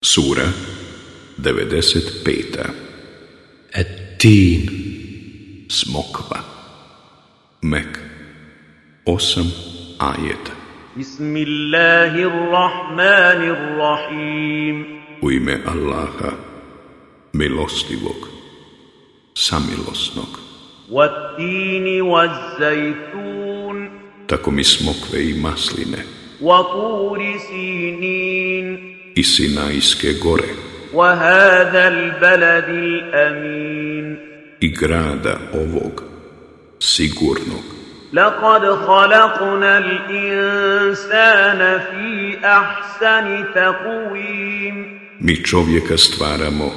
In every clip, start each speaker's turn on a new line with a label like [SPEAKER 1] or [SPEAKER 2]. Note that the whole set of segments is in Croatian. [SPEAKER 1] Sura 95.
[SPEAKER 2] التين
[SPEAKER 1] Smokva Mek 8 ajeta
[SPEAKER 3] بسم الله الرحمن الرحيم
[SPEAKER 1] U ime Allaha Milostivog Samilosnog
[SPEAKER 3] والتين والزيتون
[SPEAKER 1] Tako mi smokve i masline
[SPEAKER 3] وطور سينين
[SPEAKER 1] I Sinajske gore
[SPEAKER 3] وهذا البلد الأمين
[SPEAKER 1] I grada ovog Sigurnog
[SPEAKER 3] لقد خلقنا الإنسان في أحسن تقويم
[SPEAKER 1] Mi čovjeka stvaramo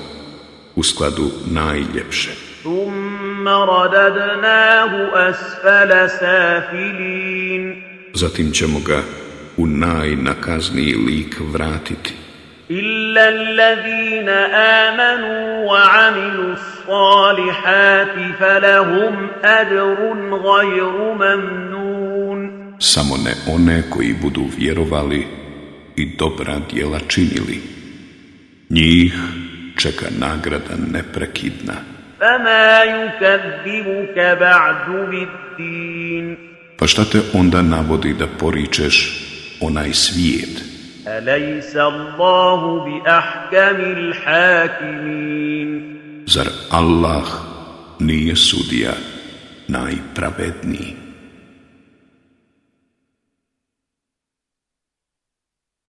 [SPEAKER 1] U skladu najljepše
[SPEAKER 3] ثم رددناه أسفل سافلين
[SPEAKER 1] Zatim ćemo ga u najnakazniji lik vratiti
[SPEAKER 3] إلا الذين آمنوا وعملوا الصالحات فلهم أجر غير ممنون
[SPEAKER 1] samo ne one koji budu vjerovali i dobra djela činili. Njih čeka nagrada neprekidna.
[SPEAKER 3] فما يكذبك بعد بالدين
[SPEAKER 1] Pa šta te onda navodi da poričeš onaj svijet?
[SPEAKER 3] أليس الله بأحكم الحاكمين
[SPEAKER 1] Zar Allah nije sudija najpravedniji?